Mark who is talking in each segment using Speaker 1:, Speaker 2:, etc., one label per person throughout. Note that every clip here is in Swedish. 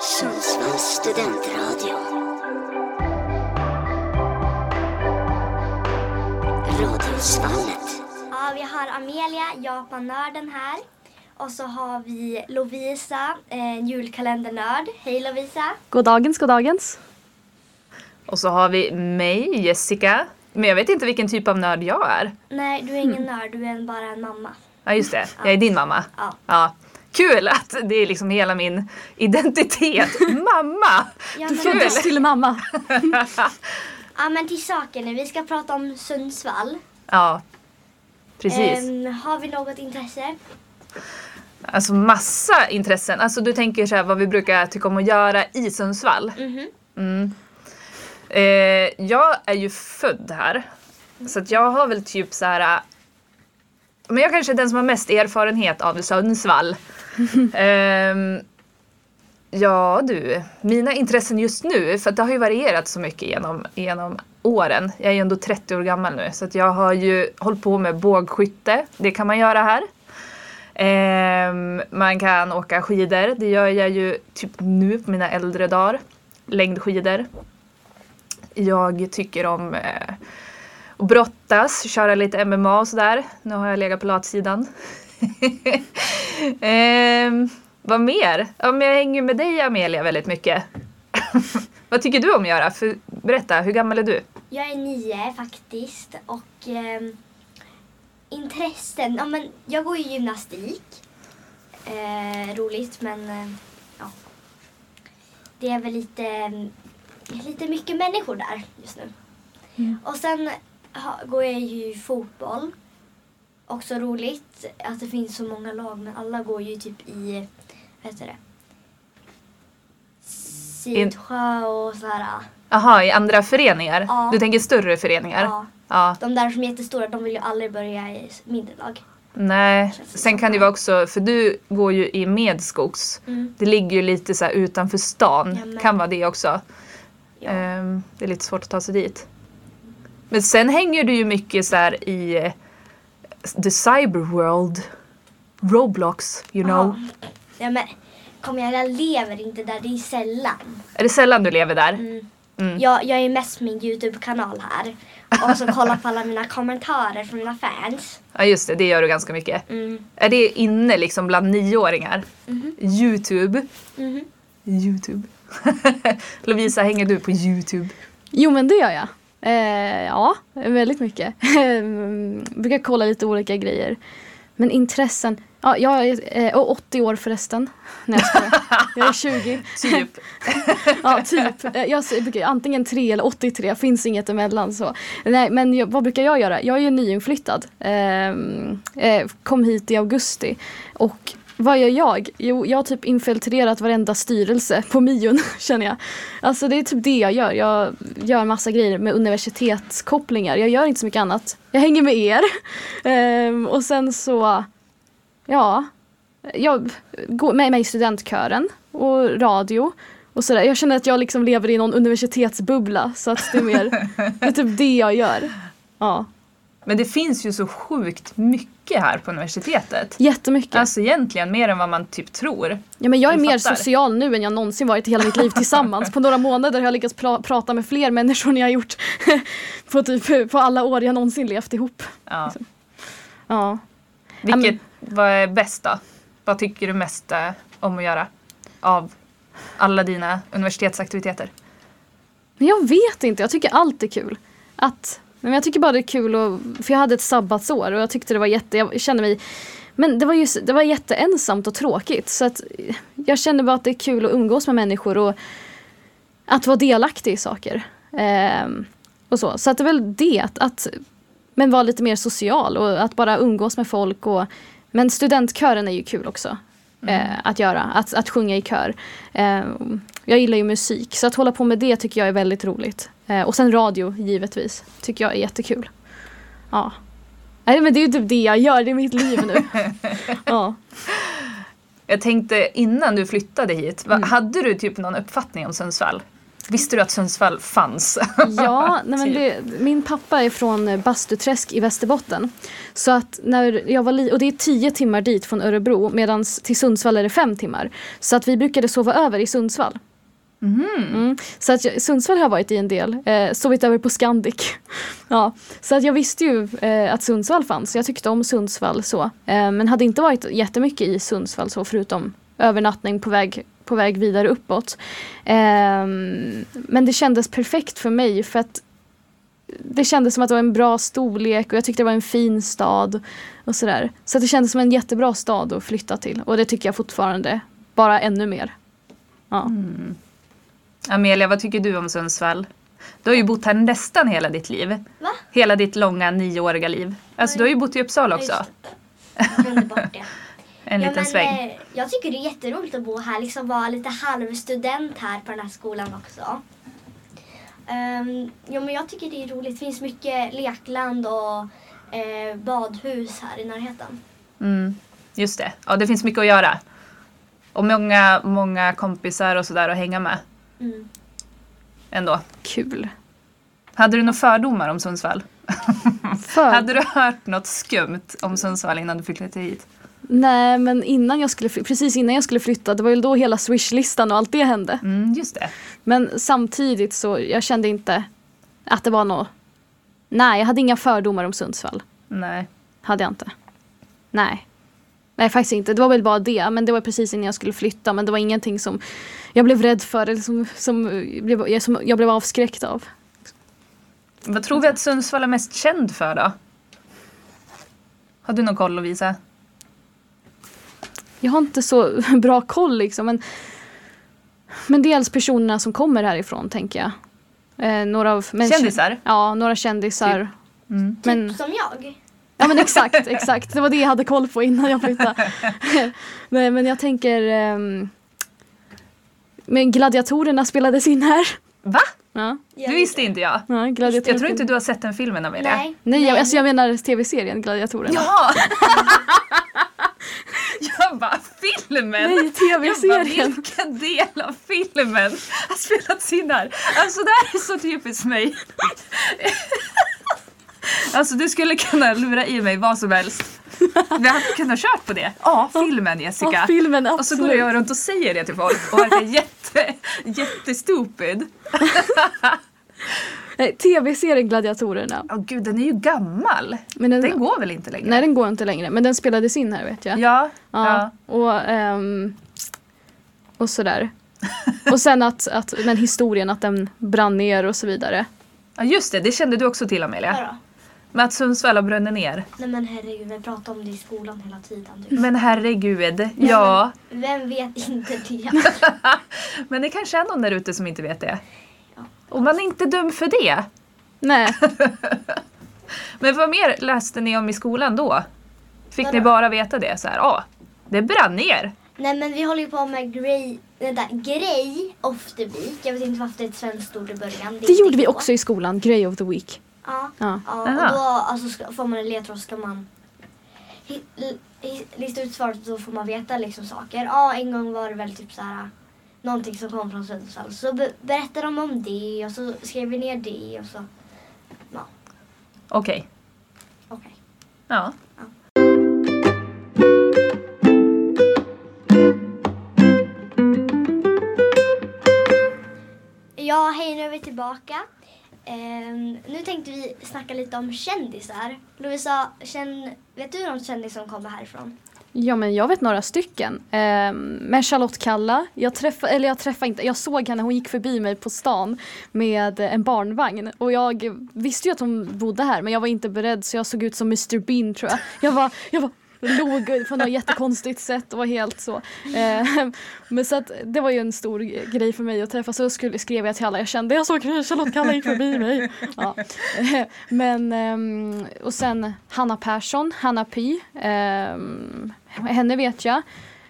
Speaker 1: Sundsvalls studentradio. Radhusvallet.
Speaker 2: Ja, vi har Amelia, Japannörden här. Och så har vi Lovisa, eh, julkalendernörd. Hej Lovisa!
Speaker 3: Goddagens, goddagens.
Speaker 4: Och så har vi mig, Jessica. Men jag vet inte vilken typ av nörd jag är.
Speaker 2: Nej, du är ingen nörd, du är en- bara en mamma.
Speaker 4: Ja, just det. Jag är din mamma.
Speaker 2: Ja.
Speaker 4: Kul att det är liksom hela min identitet. Mamma!
Speaker 2: Ja
Speaker 3: Du
Speaker 2: men,
Speaker 3: föddes till mamma.
Speaker 2: ja, men till saken nu, vi ska prata om Sundsvall.
Speaker 4: Ja, precis.
Speaker 2: Ehm, har vi något intresse?
Speaker 4: Alltså massa intressen. Alltså du tänker så här vad vi brukar tycka om att göra i Sundsvall. Mm. Eh, jag är ju född här. Så att jag har väl typ så här. eh, Men jag kanske är den som har mest erfarenhet av Sundsvall. Ehm, ja du, mina intressen just nu, för att det har ju varierat så mycket genom, genom åren. Jag är ju ändå 30 år gammal nu så att jag har ju hållit på med bågskytte. Det kan man göra här. Ehm, man kan åka skidor, det gör jag ju typ nu på mina äldre dagar. Längdskidor. Jag tycker om eh, att brottas, köra lite MMA och sådär. Nu har jag legat på latsidan. Ehm, vad mer? Ja, men jag hänger med dig Amelia väldigt mycket. vad tycker du om att göra? För, berätta, hur gammal är du?
Speaker 2: Jag är nio faktiskt och ehm, intressen, ja men jag går ju gymnastik. Eh, roligt men eh, ja. Det är väl lite, mm, lite mycket människor där just nu. Och sen ha, går jag ju fotboll. Också roligt att det finns så många lag men alla går ju typ i, vad heter det? Sidsjö och sådär.
Speaker 4: Jaha, i andra föreningar?
Speaker 2: Ja.
Speaker 4: Du tänker större föreningar?
Speaker 2: Ja.
Speaker 4: ja.
Speaker 2: De där som är jättestora, de vill ju aldrig börja i mindre lag.
Speaker 4: Nej,
Speaker 2: Känns det
Speaker 4: sen
Speaker 2: som.
Speaker 4: kan det vara också, för du går ju i Medskogs.
Speaker 2: Mm.
Speaker 4: Det ligger ju lite så här utanför stan,
Speaker 2: Ja, men-
Speaker 4: kan vara det också.
Speaker 2: Ja.
Speaker 4: Ehm, det är lite svårt att ta sig dit. Men sen hänger du ju mycket så här i eh, the cyberworld. Roblox, you know.
Speaker 2: Ja. Ja, men kom igen, jag lever inte där, det är sällan.
Speaker 4: Är det sällan du lever där?
Speaker 2: Mm.
Speaker 4: Mm.
Speaker 2: Jag, jag är mest min YouTube-kanal här. Och så kollar på alla mina kommentarer från mina fans.
Speaker 4: Ja just det, det gör du ganska mycket.
Speaker 2: Mm.
Speaker 4: Är det inne liksom bland nioåringar? Youtube.
Speaker 2: Mhm.
Speaker 4: Youtube. Lovisa, hänger du på Youtube?
Speaker 3: Jo men det gör jag. Eh, ja, väldigt mycket. Mm, brukar kolla lite olika grejer. Men intressen. Ja, jag är eh, och 80 år förresten. Nej jag skojar. Jag är 20.
Speaker 4: Typ.
Speaker 3: Ja, typ. Eh, Jag s- brukar antingen 3 eller 83, finns inget emellan. Så. Nej, men jag, vad brukar jag göra? Jag är ju nyinflyttad. Ehm, eh, kom hit i augusti. Och vad gör jag? Jo, jag har typ infiltrerat varenda styrelse på Mion, känner jag. Alltså det är typ det jag gör. Jag gör massa grejer med universitetskopplingar. Jag gör inte så mycket annat. Jag hänger med er. Ehm, och sen så, ja, jag går med mig i studentkören och radio. Och sådär. Jag känner att jag liksom lever i någon universitetsbubbla så att det är mer det är typ det jag gör. Ja,
Speaker 4: Men det finns ju så sjukt mycket här på universitetet.
Speaker 3: jättemycket.
Speaker 4: Alltså egentligen mer än vad man typ tror.
Speaker 3: ja, men jag är
Speaker 4: jag
Speaker 3: mer
Speaker 4: fattar.
Speaker 3: social nu än jag någonsin varit i hela mitt liv tillsammans. På några månader har jag lyckats pra- prata med fler människor än jag har gjort på, typ, på alla år jag någonsin levt ihop.
Speaker 4: Ja.
Speaker 3: Ja.
Speaker 4: Vilket, vad är bäst då? Vad tycker du mest eh, om att göra? Av alla dina universitetsaktiviteter?
Speaker 3: Men jag vet inte, jag tycker allt är kul. Att, nej, men jag tycker bara det är kul och, för jag hade ett sabbatsår och jag tyckte det var jätte, jag kände mig men det var, ju, s- det var jätteensamt och tråkigt så att eh, jag känner bara att det är kul att umgås med människor och att vara delaktig i saker. Ehm, och så så att det är väl det, att, att men vara lite mer social och att bara umgås med folk. Och, men studentkören är ju kul också eh, att göra, att, att sjunga i kör. Eh, jag gillar ju musik så att hålla på med det tycker jag är väldigt roligt. Eh, och sen radio givetvis, tycker jag är jättekul. Ja. Nej men det är ju typ det jag gör, det är mitt liv nu. ja.
Speaker 4: Mm. Jag tänkte innan du flyttade hit, va- hade du typ någon uppfattning om Sundsvall? Visste du att Sundsvall fanns?
Speaker 3: Ja, nej men
Speaker 4: Typ.
Speaker 3: det, min pappa är från Bastuträsk i Västerbotten. Så att när jag var li- och det är tio timmar dit från Örebro medan till Sundsvall är det fem timmar. Så att vi brukade sova över i Sundsvall. Mm. Så att jag, Sundsvall har jag varit i en del, eh, sovit över på Scandic. ja. Så att jag visste ju eh, att Sundsvall fanns, jag tyckte om Sundsvall så. Eh, men hade inte varit jättemycket i Sundsvall så förutom övernattning på väg, på väg vidare uppåt. Ehm, men det kändes perfekt för mig för att det kändes som att det var en bra storlek och jag tyckte det var en fin stad. och sådär. Så att det kändes som en jättebra stad att flytta till och det tycker jag fortfarande, bara ännu mer. Ja.
Speaker 4: Amelia, vad tycker du om Sundsvall? Du har ju bott här nästan hela ditt liv.
Speaker 2: Va?
Speaker 4: Hela ditt långa nioåriga liv. Alltså du har ju bott i Uppsala också.
Speaker 2: Ja, just det. Glömde bort det.
Speaker 4: En
Speaker 2: Ja,
Speaker 4: liten
Speaker 2: men,
Speaker 4: sväng.
Speaker 2: eh, Jag tycker det är jätteroligt att bo här, liksom vara lite halvstudent här på den här skolan också. Um, ja, men jag tycker det är roligt. Det finns mycket lekland och eh, badhus här i närheten.
Speaker 4: Mm, just det. Ja, det finns mycket att göra. Och många, många kompisar och sådär att hänga med
Speaker 2: Mm.
Speaker 4: ändå.
Speaker 3: Kul.
Speaker 4: Hade du några fördomar om Sundsvall?
Speaker 3: För,
Speaker 4: Hade du hört något skumt om Sundsvall innan du flyttade hit?
Speaker 3: Nej men innan jag skulle, fly- precis innan jag skulle flytta, det var ju då hela Swish-listan och allt det hände.
Speaker 4: Mm, just det.
Speaker 3: Men samtidigt så jag kände inte att det var något, nej jag hade inga fördomar om Sundsvall.
Speaker 4: Nej.
Speaker 3: Hade jag inte. Nej. Nej faktiskt inte. Det var väl bara det. Men det var precis innan jag skulle flytta. Men det var ingenting som jag blev rädd för eller som, som, eh, blev, som jag blev avskräckt av.
Speaker 4: Vad tror vi att Sundsvall är mest känd för då? Har du någon koll Lovisa?
Speaker 3: Jag har inte så bra koll liksom. Men, men dels personerna som kommer härifrån tänker jag. Eh, några av, men,
Speaker 4: Kändisar? Mm.
Speaker 3: Ja, några kändisar. Men,
Speaker 2: Typ Som jag.
Speaker 3: ja men exakt, exakt. Det var det jag hade koll på innan jag flyttade. Nej men jag tänker ehm, men gladiatorerna spelades in här.
Speaker 4: Va?
Speaker 3: Ja.
Speaker 4: Det visste inte jag.
Speaker 3: Ja, gladiatorerna.
Speaker 4: Jag tror inte du har sett den filmen Amelia.
Speaker 2: Nej.
Speaker 3: Nej, Jag, alltså jag menar tv-serien Gladiatorerna.
Speaker 4: Ja! jag bara filmen!
Speaker 3: Nej,
Speaker 4: jag bara,
Speaker 3: tv-serien.
Speaker 4: vilken del av filmen har spelats in här? Alltså det här är så typiskt mig. Alltså du skulle kunna lura i mig vad som helst. Vi hade kunnat kört på det. Ja, filmen Jessica.
Speaker 3: Ja, filmen, absolut.
Speaker 4: Och så går jag runt och säger det till folk och verkar jätte, jättestupid.
Speaker 3: Nej, tv-serien Gladiatorerna.
Speaker 4: Åh gud, den är ju gammal.
Speaker 3: Men den,
Speaker 4: Den går väl inte längre?
Speaker 3: Nej, den går inte längre. Men den spelades in här vet jag.
Speaker 4: Ja, ja.
Speaker 3: Och, ehm, och sådär. och sen att, att den historien att den brann ner och så vidare.
Speaker 4: ja, just det. Det kände du också till Amelia.
Speaker 2: Vadå?
Speaker 4: Med att Sundsvall har brunnit ner.
Speaker 2: Nej men herregud, vi pratar om det i skolan hela tiden. Typ.
Speaker 4: Men herregud, Mm. ja.
Speaker 2: Vem vet inte det?
Speaker 4: Men det kanske är någon där ute som inte vet det. Och man är inte dum för det.
Speaker 3: Nej,
Speaker 4: Men vad mer läste ni om i skolan då? Fick ni
Speaker 2: Vadå?
Speaker 4: bara veta det? Så här, ja, det brann ner.
Speaker 2: Nej men vi håller ju på med grej, vänta, grej off the week. Jag vet inte varför det är ett svenskt ord i början. är
Speaker 3: det
Speaker 2: inte
Speaker 3: gjorde vi
Speaker 2: igår.
Speaker 3: också i skolan. Grey of the Week.
Speaker 2: Ja.
Speaker 3: Ja.
Speaker 2: Ja,
Speaker 4: Aha.
Speaker 2: och då alltså, ska, får man en ledtråd ska man hi- l- hi- lista ut svaret och då får man veta liksom saker. Ja, en gång var det väl typ så här någonting som kom från Sundsvall. Så be- berättade de om det och så skrev vi ner det och så, ja,
Speaker 4: Okej.
Speaker 2: okej.
Speaker 4: Ja.
Speaker 2: Ja. Ja, hej nu är vi tillbaka. Ehm, nu tänkte vi snacka lite om kändisar. Lovisa, känn, vet du någon kändis som kommer härifrån?
Speaker 3: Ja men jag vet några stycken. Ehm, men Charlotte Kalla, jag träffade, eller jag träffade inte, jag såg henne, hon gick förbi mig på stan med en barnvagn. Och jag visste ju att hon bodde här men jag var inte beredd så jag såg ut som Mr Bean tror jag. Jag var, jag var log på något jättekonstigt sätt och var helt så. Ehm, men så att det var ju en stor grej för mig att träffa så skulle, skrev jag till alla jag kände, jag såg Charlotte Kalla gick förbi mig. Ja. Eh, Men, ehm, och sen Hanna Persson, Hanna Py. ehm, henne vet jag.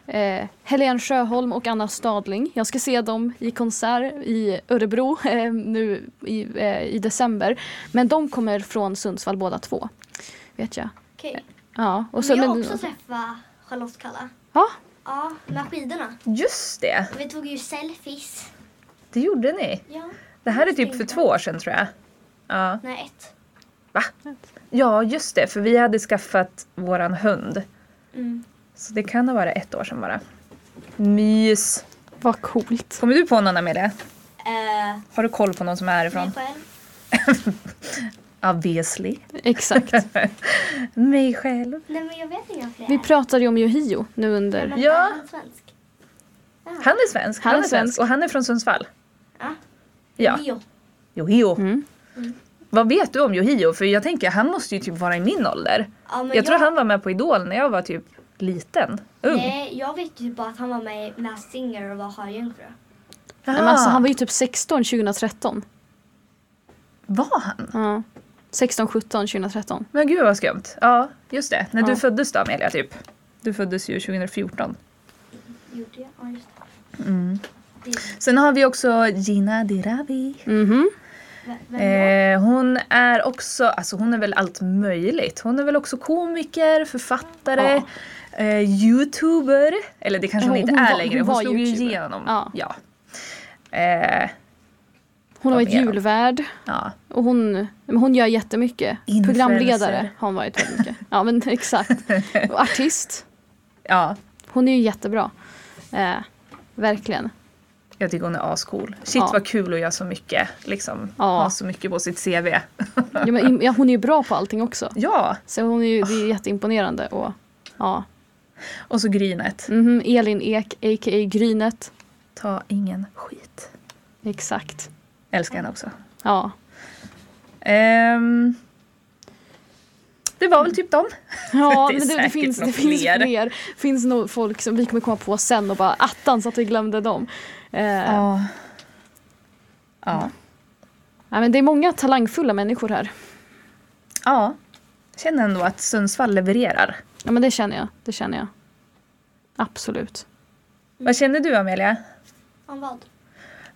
Speaker 3: Eh, Helene Sjöholm och Anna Stadling. Jag ska se dem i konsert i Örebro eh, nu i, eh, i december. Men de kommer från Sundsvall båda två. Vet jag.
Speaker 2: Okej.
Speaker 3: Ja, och
Speaker 2: Vill jag
Speaker 3: men-
Speaker 2: också träffa Charlotte Kalla?
Speaker 3: ja,
Speaker 2: Ja, med skidorna.
Speaker 4: Just det.
Speaker 2: Vi tog ju selfies.
Speaker 4: Det gjorde ni.
Speaker 2: Ja.
Speaker 4: Det här är typ för två år sedan tror jag. Ja.
Speaker 2: Nej, ett.
Speaker 4: Va? Ja, just det. För vi hade skaffat våran hund.
Speaker 2: Mm.
Speaker 4: Så det kan ha varit ett år sedan bara. Mys.
Speaker 3: Vad coolt.
Speaker 4: Kommer du på någon med det?
Speaker 2: Eh,
Speaker 4: Har du koll på någon som är härifrån?
Speaker 2: mig själv.
Speaker 4: Obviously.
Speaker 3: Exakt.
Speaker 4: Mig själv.
Speaker 2: Nej, men jag vet inga fler.
Speaker 3: Vi pratade ju om Yohio nu
Speaker 2: Nej,
Speaker 3: under...
Speaker 2: men
Speaker 4: Ja.
Speaker 2: är han svensk?
Speaker 4: Han är svensk.
Speaker 3: Han är svensk.
Speaker 4: Och han är från Sundsvall.
Speaker 2: Ja.
Speaker 4: Ja.
Speaker 2: Jo.
Speaker 4: Johio.
Speaker 3: Mm.
Speaker 4: Vad vet du om Johio? För jag tänker han måste ju typ vara i min ålder.
Speaker 2: Ja, men
Speaker 4: Jag tror han var med på Idol när jag var typ liten. Ung.
Speaker 2: Nej, jag vet ju bara att han var med i Masked Singer och var sjöjungfru.
Speaker 4: Jaha.
Speaker 3: Nej, men alltså, han var ju typ 16 2013.
Speaker 4: Var han?
Speaker 3: Ja. 16, 17, 2013.
Speaker 4: Men gud vad skumt. Ja, just det. När du
Speaker 3: Ja.
Speaker 4: föddes då Amelia typ. Du föddes ju 2014.
Speaker 2: Gjorde jag? Ja, just det.
Speaker 4: Mm.
Speaker 2: det
Speaker 4: Sen har vi också Gina Dirawi.
Speaker 3: Mhm.
Speaker 2: vem, vem då?
Speaker 4: Eh, hon är också, alltså hon är väl allt möjligt. Hon är väl också komiker, författare, eh, youtuber. Eller det kanske hon,
Speaker 3: Ja,
Speaker 4: inte
Speaker 3: hon
Speaker 4: är
Speaker 3: var-
Speaker 4: längre,
Speaker 3: hon
Speaker 4: hon
Speaker 3: var
Speaker 4: slog ju
Speaker 3: youtuber.
Speaker 4: igenom.
Speaker 3: Ja.
Speaker 4: Ja. Eh,
Speaker 3: Hon har
Speaker 4: Vad
Speaker 3: varit
Speaker 4: mer då?
Speaker 3: julvärd.
Speaker 4: ja.
Speaker 3: Och hon, men hon gör jättemycket.
Speaker 4: Influencer.
Speaker 3: Programledare har hon varit väldigt mycket. Ja men exakt. Och artist.
Speaker 4: ja,
Speaker 3: Hon är ju jättebra. Eh, verkligen.
Speaker 4: jag tycker hon är ascool. Shit
Speaker 3: Ja.
Speaker 4: vad kul att göra så mycket, liksom.
Speaker 3: Ja.
Speaker 4: Ha så mycket på sitt CV.
Speaker 3: Ja, men, ja, hon är ju bra på allting också.
Speaker 4: ja,
Speaker 3: Så hon är ju, det är ju jätteimponerande. Och, ja.
Speaker 4: och så Grynet.
Speaker 3: Mhm, Elin Ek, a.k.a. Grynet.
Speaker 4: Ta ingen skit.
Speaker 3: Exakt.
Speaker 4: Älskar henne också.
Speaker 3: Ja.
Speaker 4: Ehm, det var väl typ dem.
Speaker 3: Ja,
Speaker 4: Det är
Speaker 3: men det, det
Speaker 4: säkert
Speaker 3: finns, det
Speaker 4: något
Speaker 3: finns
Speaker 4: fler.
Speaker 3: fler. finns nog folk som vi kommer komma på sen och bara attans att vi glömde dem. Eh, ja.
Speaker 4: Ja. Ja.
Speaker 3: men det är många talangfulla människor här.
Speaker 4: Ja. Känner ändå att Sundsvall levererar.
Speaker 3: Ja men det känner jag. Det känner jag. Absolut.
Speaker 4: Vad känner du Amelia?
Speaker 2: Om vad?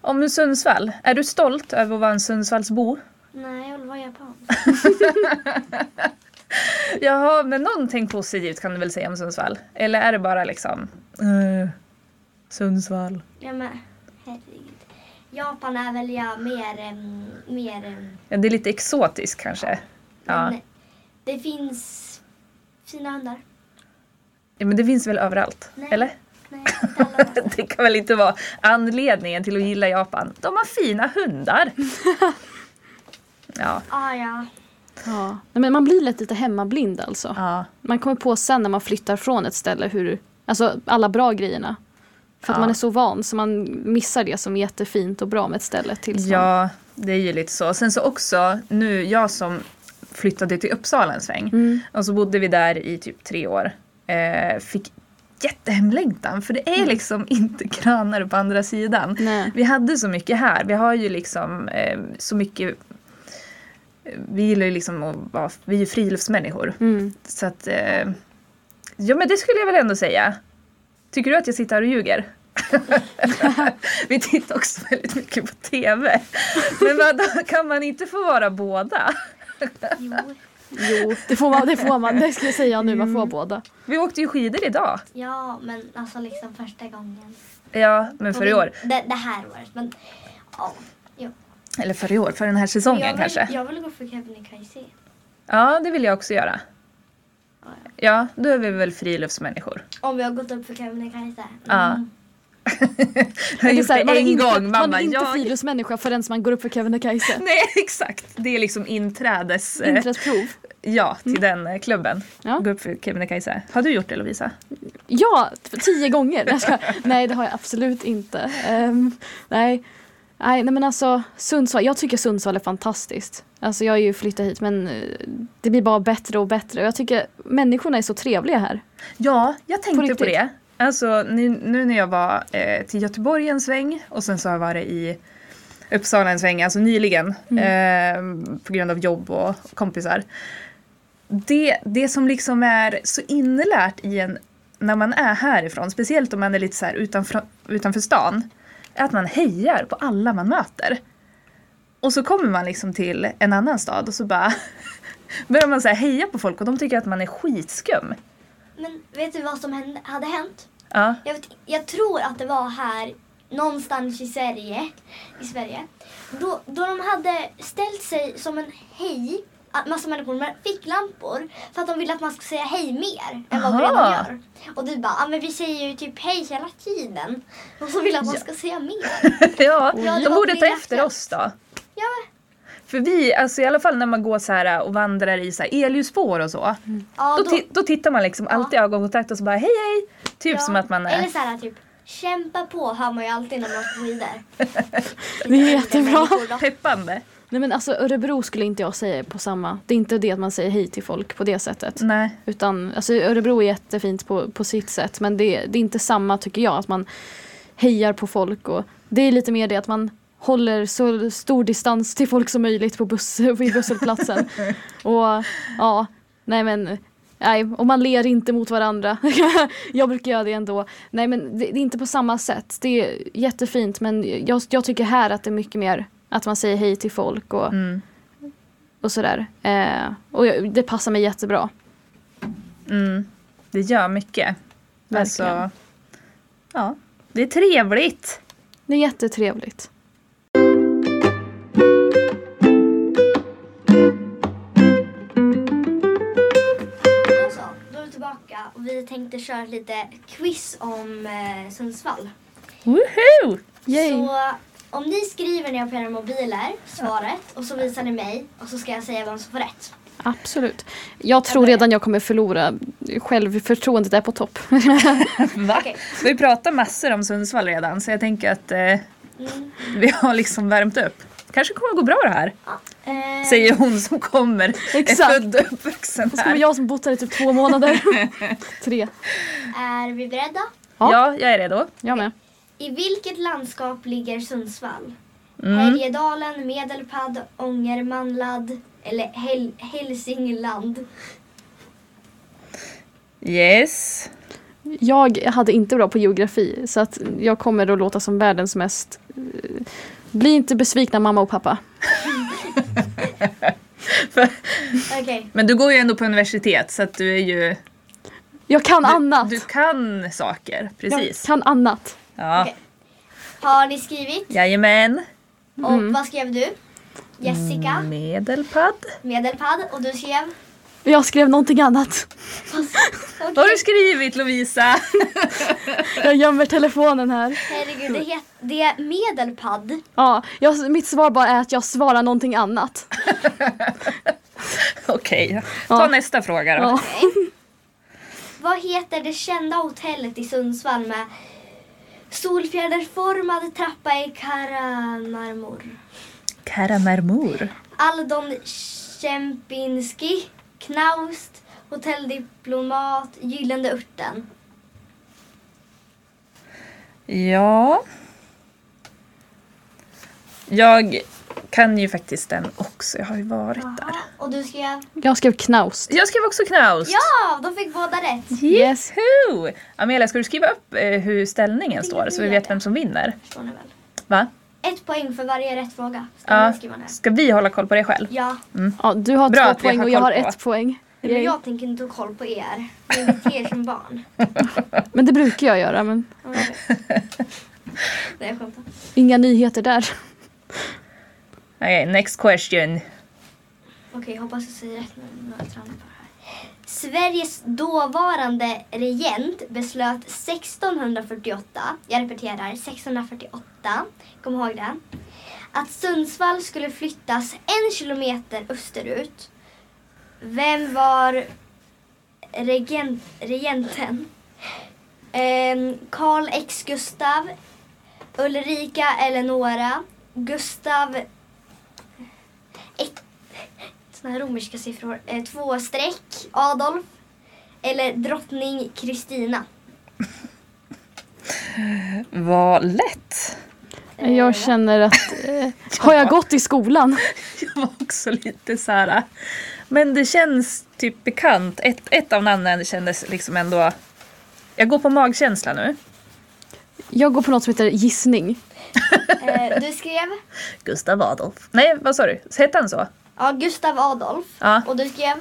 Speaker 4: Om Sundsvall, är du stolt över att vara en Sundsvallsbo?
Speaker 2: Nej, jag vill vara japan.
Speaker 4: Jaha, men någonting positivt kan du väl säga om Sundsvall? Eller är det bara liksom... eh, Sundsvall.
Speaker 2: Ja, men herregud. Japan är väl jag mer... em, mer em,
Speaker 4: Ja, det är lite exotiskt kanske. Ja.
Speaker 2: men Det finns fina hundar.
Speaker 4: ja, men det finns väl överallt?
Speaker 2: Nej.
Speaker 4: Eller?
Speaker 2: Nej, inte alla hundar.
Speaker 4: Det kan väl inte vara anledningen till att gilla Japan? De har fina hundar! Ja.
Speaker 2: ah, ja.
Speaker 3: Ja. Nej, men man blir lätt lite hemmablind alltså.
Speaker 4: ja.
Speaker 3: Man kommer på sen när man flyttar från ett ställe hur, alltså alla bra grejerna. För att
Speaker 4: Ja.
Speaker 3: man är så van så man missar det som är jättefint och bra med ett ställe tills man...
Speaker 4: Ja, det är ju lite så. Sen så också, nu jag som flyttade till Uppsala en sväng
Speaker 3: Mm.
Speaker 4: och så bodde vi där i typ tre år. Eh, fick jättehemlängtan för det är liksom inte grannar på andra sidan.
Speaker 3: Nej.
Speaker 4: Vi hade så mycket här. Vi har ju liksom eh, så mycket eh, vi gillar ju liksom att vara, vi är ju friluftsmänniskor.
Speaker 3: Mm.
Speaker 4: Så att, eh, ja men det skulle jag väl ändå säga. Tycker du att jag sitter här och ljuger? Vi tittar också väldigt mycket på TV. Men vad, kan man inte få vara båda?
Speaker 2: Jo.
Speaker 3: Jo, det får man. Det, får man. det ska jag säga nu,
Speaker 4: Mm.
Speaker 3: man får båda.
Speaker 4: Vi åkte ju skidor idag.
Speaker 2: Ja, men alltså liksom första gången.
Speaker 4: Ja, men för i år.
Speaker 2: Det, det här året, men... Ja. Jo.
Speaker 4: Eller för i år, för den här
Speaker 2: jag,
Speaker 4: säsongen
Speaker 2: vill,
Speaker 4: kanske.
Speaker 2: jag vill gå för Kebnekaise.
Speaker 4: Ja, det vill jag också göra.
Speaker 2: Ja, ja.
Speaker 4: Ja, då är vi väl friluftsmänniskor.
Speaker 2: Om vi har gått upp för Kebnekaise. Mm.
Speaker 4: Ja. Jag har
Speaker 3: Det är
Speaker 4: gjort
Speaker 3: så här,
Speaker 4: det
Speaker 3: man är
Speaker 4: en
Speaker 3: inte,
Speaker 4: gång, mamma.
Speaker 3: Man är inte
Speaker 4: jag...
Speaker 3: friluftsmänniska förrän man går upp för Kebnekaise.
Speaker 4: Nej, exakt. Det är liksom inträdes... eh,
Speaker 3: Inträdesprov.
Speaker 4: Ja, till den eh, klubben.
Speaker 3: Mm. Ja.
Speaker 4: Gå upp för Kebnekaise. Har du gjort det Lovisa?
Speaker 3: Ja, t- tio gånger. Nej, jag skojar. nej, det har jag absolut inte. Ehm, nej. Nej, nej, men alltså Sundsvall. Jag tycker Sundsvall är fantastiskt. Alltså jag har ju flyttat hit men eh, det blir bara bättre och bättre. Och jag tycker människorna är så trevliga här.
Speaker 4: Ja, jag tänkte på,
Speaker 3: riktigt?
Speaker 4: det. Alltså nu, nu när jag var eh, till Göteborg en sväng och sen så har jag varit i Uppsala en sväng, alltså nyligen. Eh, på grund av jobb och kompisar. Det, det som liksom är så inlärt i en när man är härifrån, speciellt om man är lite så här utanför, utanför stan, är att man hejar på alla man möter. Och så kommer man liksom till en annan stad och så bara börjar man så här heja på folk och de tycker att man är skitskum.
Speaker 2: Men vet du vad som hände, hade hänt?
Speaker 4: Ja.
Speaker 2: Jag, vet, jag tror att det var här någonstans i Sverige, i Sverige då, då de hade ställt sig som en hej, att massa människor med ficklampor för att de ville att man skulle säga hej mer än vad vi
Speaker 4: Aha.
Speaker 2: redan gör. Och du bara, ah, men vi säger ju typ hej hela tiden. Och så vill att man ska säga mer.
Speaker 4: ja,
Speaker 2: Ja, det
Speaker 4: de
Speaker 2: var
Speaker 4: borde ta
Speaker 2: Brilla
Speaker 4: efter
Speaker 2: Fjäll.
Speaker 4: oss då.
Speaker 2: Ja,
Speaker 4: För vi, alltså i alla fall när man går så här och vandrar i så här elljusspår och så.
Speaker 2: Mm. ja,
Speaker 4: Då, ti- då tittar man liksom
Speaker 2: Ja.
Speaker 4: alltid i ögonkontakt och så bara hej hej. Typ
Speaker 2: ja.
Speaker 4: som att man är...
Speaker 2: Eller så här typ, kämpa på hör man ju alltid när man åker skidor.
Speaker 3: Det är jättebra.
Speaker 2: Människor då.
Speaker 4: Peppande.
Speaker 3: Nej men alltså Örebro skulle inte jag säga på samma. Det är inte det att man säger hej till folk på det sättet.
Speaker 4: Nej.
Speaker 3: Utan alltså Örebro är jättefint på, på sitt sätt men det, det är inte samma tycker jag att man hejar på folk och det är lite mer det att man håller så stor distans till folk som möjligt på buss, vid busshållplatsen. och ja, nej men Nej, och man ler inte mot varandra. jag brukar göra det ändå. Nej men det, det är inte på samma sätt. Det är jättefint men jag, jag tycker här att det är mycket mer att man säger hej till folk och,
Speaker 4: Mm.
Speaker 3: och sådär. Eh, och jag, det passar mig jättebra.
Speaker 4: Mm. Det gör mycket.
Speaker 3: Verkligen.
Speaker 4: Alltså, ja, det är trevligt.
Speaker 3: Det är jättetrevligt.
Speaker 2: Och så, Alltså, då är vi tillbaka och vi tänkte köra lite quiz om eh, Sundsvall.
Speaker 4: Woohoo!
Speaker 3: Yay.
Speaker 2: Så om ni skriver ner på era mobiler svaret och så visar ni mig och så ska jag säga vem som får rätt.
Speaker 3: Absolut. Jag tror redan jag kommer förlora. Självförtroendet är på topp.
Speaker 4: Va?
Speaker 2: Okej.
Speaker 4: Vi pratar massor om Sundsvall redan så jag tänker att eh,
Speaker 2: Mm.
Speaker 4: vi har liksom värmt upp. kanske kommer att gå bra det här,
Speaker 2: Eh,
Speaker 4: säger hon som kommer.
Speaker 3: Exakt.
Speaker 4: Är född och uppvuxen
Speaker 3: Det
Speaker 4: här.
Speaker 3: var jag som bott här i typ två månader. Tre.
Speaker 2: Är vi beredda?
Speaker 3: Ja.
Speaker 4: Ja, jag är redo.
Speaker 3: Jag med.
Speaker 2: I vilket landskap ligger Sundsvall?
Speaker 4: Mm.
Speaker 2: Härjedalen, Medelpad, Ångermanland eller Hel- Hälsingland?
Speaker 4: Yes.
Speaker 3: Jag hade inte bra på geografi så att jag kommer att låta som världens mest... eh, Bli inte besvikna mamma och pappa.
Speaker 2: Okej,
Speaker 4: Men du går ju ändå på universitet så att du är ju...
Speaker 3: Jag kan annat.
Speaker 4: Du kan saker,
Speaker 3: jag
Speaker 4: precis.
Speaker 3: kan annat.
Speaker 4: Ja.
Speaker 2: Okej. har ni skrivit?
Speaker 4: Jajamän.
Speaker 2: Och vad skrev du? Jessica,
Speaker 4: Mm. Medelpad.
Speaker 2: Medelpad och du skrev?
Speaker 3: Jag skrev någonting annat.
Speaker 2: Okej.
Speaker 4: Vad har du skrivit Lovisa?
Speaker 3: Jag gömmer telefonen här.
Speaker 2: Herregud, det, het, det är Medelpad.
Speaker 3: Ja, jag, mitt svar bara är att jag svarar någonting annat.
Speaker 4: Okej, ta
Speaker 3: Ja.
Speaker 4: nästa fråga då.
Speaker 3: Ja.
Speaker 2: Vad heter det kända hotellet i Sundsvall med solfjäderformad trappa i karamarmor?
Speaker 4: Karamermor.
Speaker 2: Aldon Kempinski, Knaust, Hotelldiplomat, Gyllene Örten.
Speaker 4: Ja. Jag kan ju faktiskt den också, jag har ju varit där.
Speaker 2: Och du skrev?
Speaker 3: Jag skrev knaust.
Speaker 4: Jag skrev också Knaust.
Speaker 2: Ja, de fick båda rätt.
Speaker 3: Yes.
Speaker 4: Who? Amelia, ska du skriva upp eh, hur ställningen
Speaker 2: Det
Speaker 4: står så vi
Speaker 2: gör
Speaker 4: vet
Speaker 2: jag.
Speaker 4: vem som vinner?
Speaker 2: Förstår ni väl?
Speaker 4: Va?
Speaker 2: Ett poäng för varje rätt fråga. Ska
Speaker 4: Ja.
Speaker 2: ni skriva ner?
Speaker 4: Ska vi hålla koll på det själv?
Speaker 2: Ja,
Speaker 3: Ja, du har
Speaker 4: Bra
Speaker 3: två
Speaker 4: att vi
Speaker 3: poäng
Speaker 4: har
Speaker 3: och jag
Speaker 4: koll
Speaker 3: har
Speaker 4: på.
Speaker 3: ett poäng.
Speaker 2: men jag tänker inte ha koll på er. Ni beter er som barn.
Speaker 3: Men det brukar jag göra. Men
Speaker 2: Ja, men jag vet. Nej, jag skämtar.
Speaker 3: inga nyheter där.
Speaker 4: Okej, next question.
Speaker 2: Okej, hoppas jag säger rätt nu när jag tränar på det här. Sveriges dåvarande regent beslöt 1648, jag repeterar 1648, kom ihåg det, att Sundsvall skulle flyttas en kilometer österut. Vem var regent, regenten? Ehm, Karl X Gustav, Ulrika Eleonora, Gustav såna här romerska siffror. Eh, två streck, Adolf. Eller drottning Kristina.
Speaker 4: Vad lätt.
Speaker 2: Eh,
Speaker 3: Jag känner att... Eh, har jag gått i skolan?
Speaker 4: Jag var också lite så här. äh. Men det känns typ bekant. Ett, ett av namnen kändes liksom ändå... Jag går på magkänsla nu.
Speaker 3: Jag går på något som heter gissning.
Speaker 2: Eh, du skrev
Speaker 4: Gustav Adolf. Nej, vad sa du? Hette han så?
Speaker 2: ja, Gustav Adolf.
Speaker 4: Ja.
Speaker 2: Och du skrev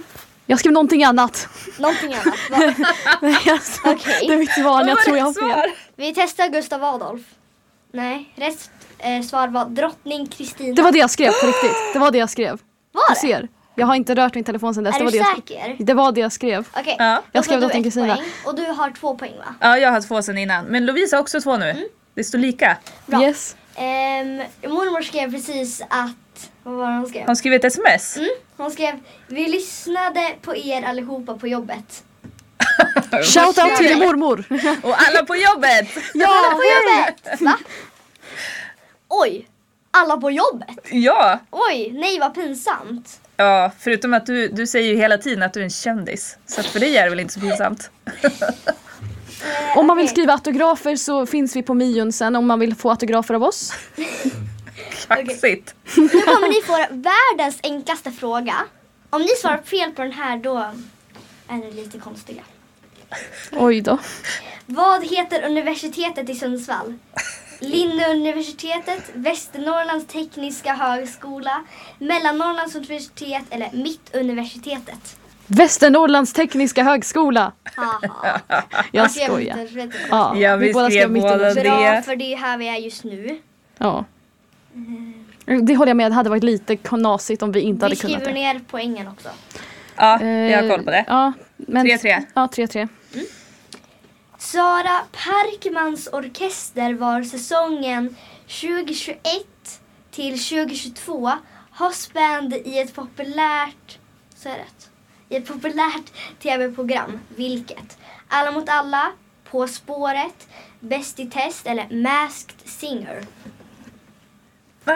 Speaker 3: Jag skrev någonting annat.
Speaker 2: någonting annat. Va?
Speaker 3: Nej, alltså,
Speaker 2: Okej.
Speaker 3: Det är mitt svar. men Jag tror jag har fel.
Speaker 2: Vi testar Gustav Adolf. Nej, rätt eh, svar var drottning Kristina.
Speaker 3: Det var det jag skrev på riktigt. Det var det jag skrev. Du ser. Jag har inte rört min telefon sedan dess.
Speaker 2: Är du
Speaker 3: det, var det, jag skrev.
Speaker 2: säker?
Speaker 3: det var det jag skrev.
Speaker 2: Okej.
Speaker 4: Ja.
Speaker 2: då får
Speaker 3: Jag skrev
Speaker 2: du
Speaker 3: drottning
Speaker 2: ett
Speaker 3: Kristina.
Speaker 2: poäng Och du har två poäng va?
Speaker 4: Ja, jag har två sen innan. Men Lovisa har också två nu. Det står lika.
Speaker 2: Bra.
Speaker 3: Yes.
Speaker 2: Ehm, mormor skrev precis att, vad var det hon skrev?
Speaker 4: Hon skrev ett sms.
Speaker 2: Mm, hon skrev, vi lyssnade på er allihopa på jobbet.
Speaker 3: Shout out till din mormor.
Speaker 4: Och alla på jobbet!
Speaker 2: alla på jobbet! Va? Oj, alla på jobbet?
Speaker 4: Ja,
Speaker 2: Oj, nej vad pinsamt.
Speaker 4: ja förutom att du, du säger ju hela tiden att du är en kändis. Så att för dig är det väl inte så pinsamt.
Speaker 2: Eh,
Speaker 3: Om man vill
Speaker 2: okej.
Speaker 3: skriva autografer så finns vi på Mion sen om man vill få autografer av oss.
Speaker 4: Kaxigt.
Speaker 2: Nu kommer ni få världens enklaste fråga. Om ni svarar fel på den här då är ni lite konstiga.
Speaker 3: Oj då.
Speaker 2: Vad heter universitetet i Sundsvall? Linnéuniversitetet, Västernorrlands tekniska högskola, Mellannorrlands universitet eller Mittuniversitetet?
Speaker 3: Västernorrlands tekniska högskola.
Speaker 2: Haha.
Speaker 3: Jag
Speaker 2: skrev
Speaker 3: skojar.
Speaker 2: inte rätt.
Speaker 3: Ja,
Speaker 4: Ja, vi skrev
Speaker 3: mitt
Speaker 4: båda
Speaker 3: under.
Speaker 4: det.
Speaker 2: Bra, för det är här vi är just nu.
Speaker 3: Ja. Det håller jag med, det hade varit lite knasigt om vi inte
Speaker 2: Vi
Speaker 3: hade kunnat
Speaker 2: skriver
Speaker 3: det.
Speaker 2: ner poängen också.
Speaker 4: Ja, vi har koll på
Speaker 3: Eh,
Speaker 4: det.
Speaker 3: Ja, men,
Speaker 4: 3-3.
Speaker 3: Ja, 3-3.
Speaker 2: Sara Parkmans orkester var säsongen 2021 till 2022 hospband i ett populärt, så är det, rätt? i ett populärt tv-program. Vilket? Alla mot alla, På spåret, Bäst i test eller Masked Singer.
Speaker 4: Ah,